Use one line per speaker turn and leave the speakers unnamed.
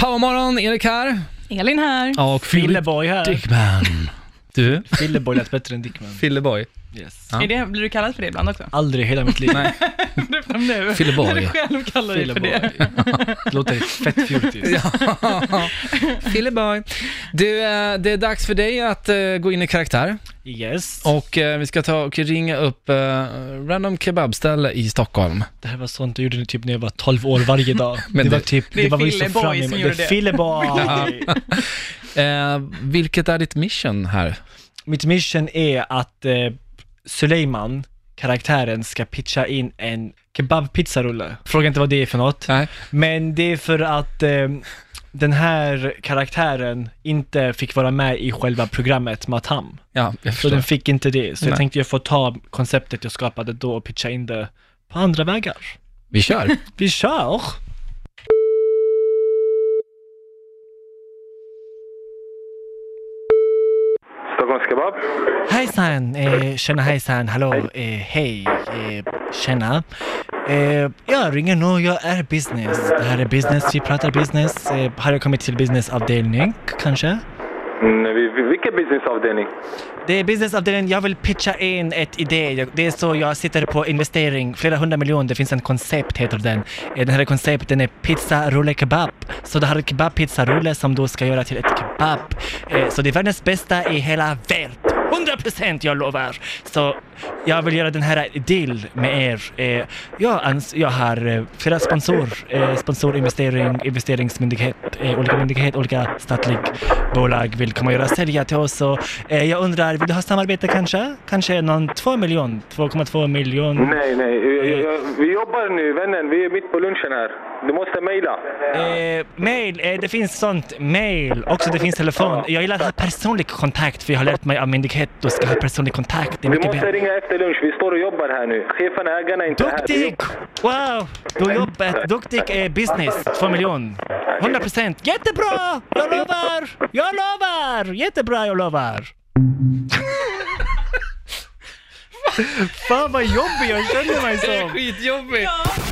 Powermorgon, Erik här.
Elin här.
Ja, och
Filleboy här.
Dickman. Du?
Filleboy lät bättre än Dickman.
Filleboy.
Yes.
Ja.
Är det, blir du kallad för det ibland också?
Aldrig i hela mitt liv.
Nej,
Förutom nu.
Filleboy.
När du själv kallar dig för det.
Filleboy. Det låter fett fjortigt.
ja. Filleboy. Du, eh, det är dags för dig att eh, gå in i karaktär.
Yes.
Och eh, vi ska ta och ringa upp eh, random kebabställe i Stockholm.
Det här var sånt jag gjorde typ när jag var 12 år varje dag.
Men
det var
det-
typ,
Det är
var vi så
Filleboy
fram emot.
som gjorde
Det
det.
är Filleboy!
Eh, vilket är ditt mission här?
Mitt mission är att eh, Suleiman, karaktären, ska pitcha in en kebabpizzarulle. Fråga inte vad det är för något.
Nej.
Men det är för att eh, den här karaktären inte fick vara med i själva programmet Matam.
Ja, jag
Så
förstår.
den fick inte det. Så
Nej.
jag tänkte jag får ta konceptet jag skapade då och pitcha in det på andra vägar.
Vi kör.
Vi kör!
Stockholms kebab.
Hejsan! Eh, tjena hejsan, hallå, eh, hej, eh, tjena. Eh, jag ringer nu, jag är business. Det här är business, vi pratar business. Eh, har jag kommit till businessavdelning, kanske?
Mm, vi- vi- vilken businessavdelning?
Det är businessavdelningen, jag vill pitcha in ett idé. Jag- Det är så jag sitter på investering, flera hundra miljoner. Det finns en koncept, heter den. Eh, Den här koncepten är pizza, rulle, kebab. Så det här är kebab-pizza-rulle som du ska göra till ett kebab. Eh, Så det är världens bästa i hela världen. 100 procent, jag lovar! Så jag vill göra den här deal med er. Eh, Jag, ans- jag har eh, flera sponsorer, eh, sponsorinvestering, investeringsmyndighet, eh, olika myndighet, olika statliga bolag vill komma och göra sälja till oss. Så, eh, jag undrar, vill du ha samarbete kanske? Kanske någon 2 miljon, 2,2 miljon?
Nej, nej. jag- jag- jag- Vi jobbar nu, vännen. Vi är mitt på lunchen här. Du måste mejla.
Eh, mail, eh, det finns sånt. Mail, också det finns telefon. Jag gillar att ha personlig kontakt för jag har lärt mig av myndighet, du ska ha personlig kontakt. Det är
Du
mycket
måste
bättre.
ringa efter lunch. Vi står och jobbar här nu. Cheferna, ägarna är inte här. Vi
Duktig! Wow! Du jobbat. Duktig är business. Två miljon. 100 procent. Jättebra! Jag lovar! Jag lovar! Jättebra, jag lovar! Fan vad jobbig jag känner mig som!
skitjobbigt.
Ja,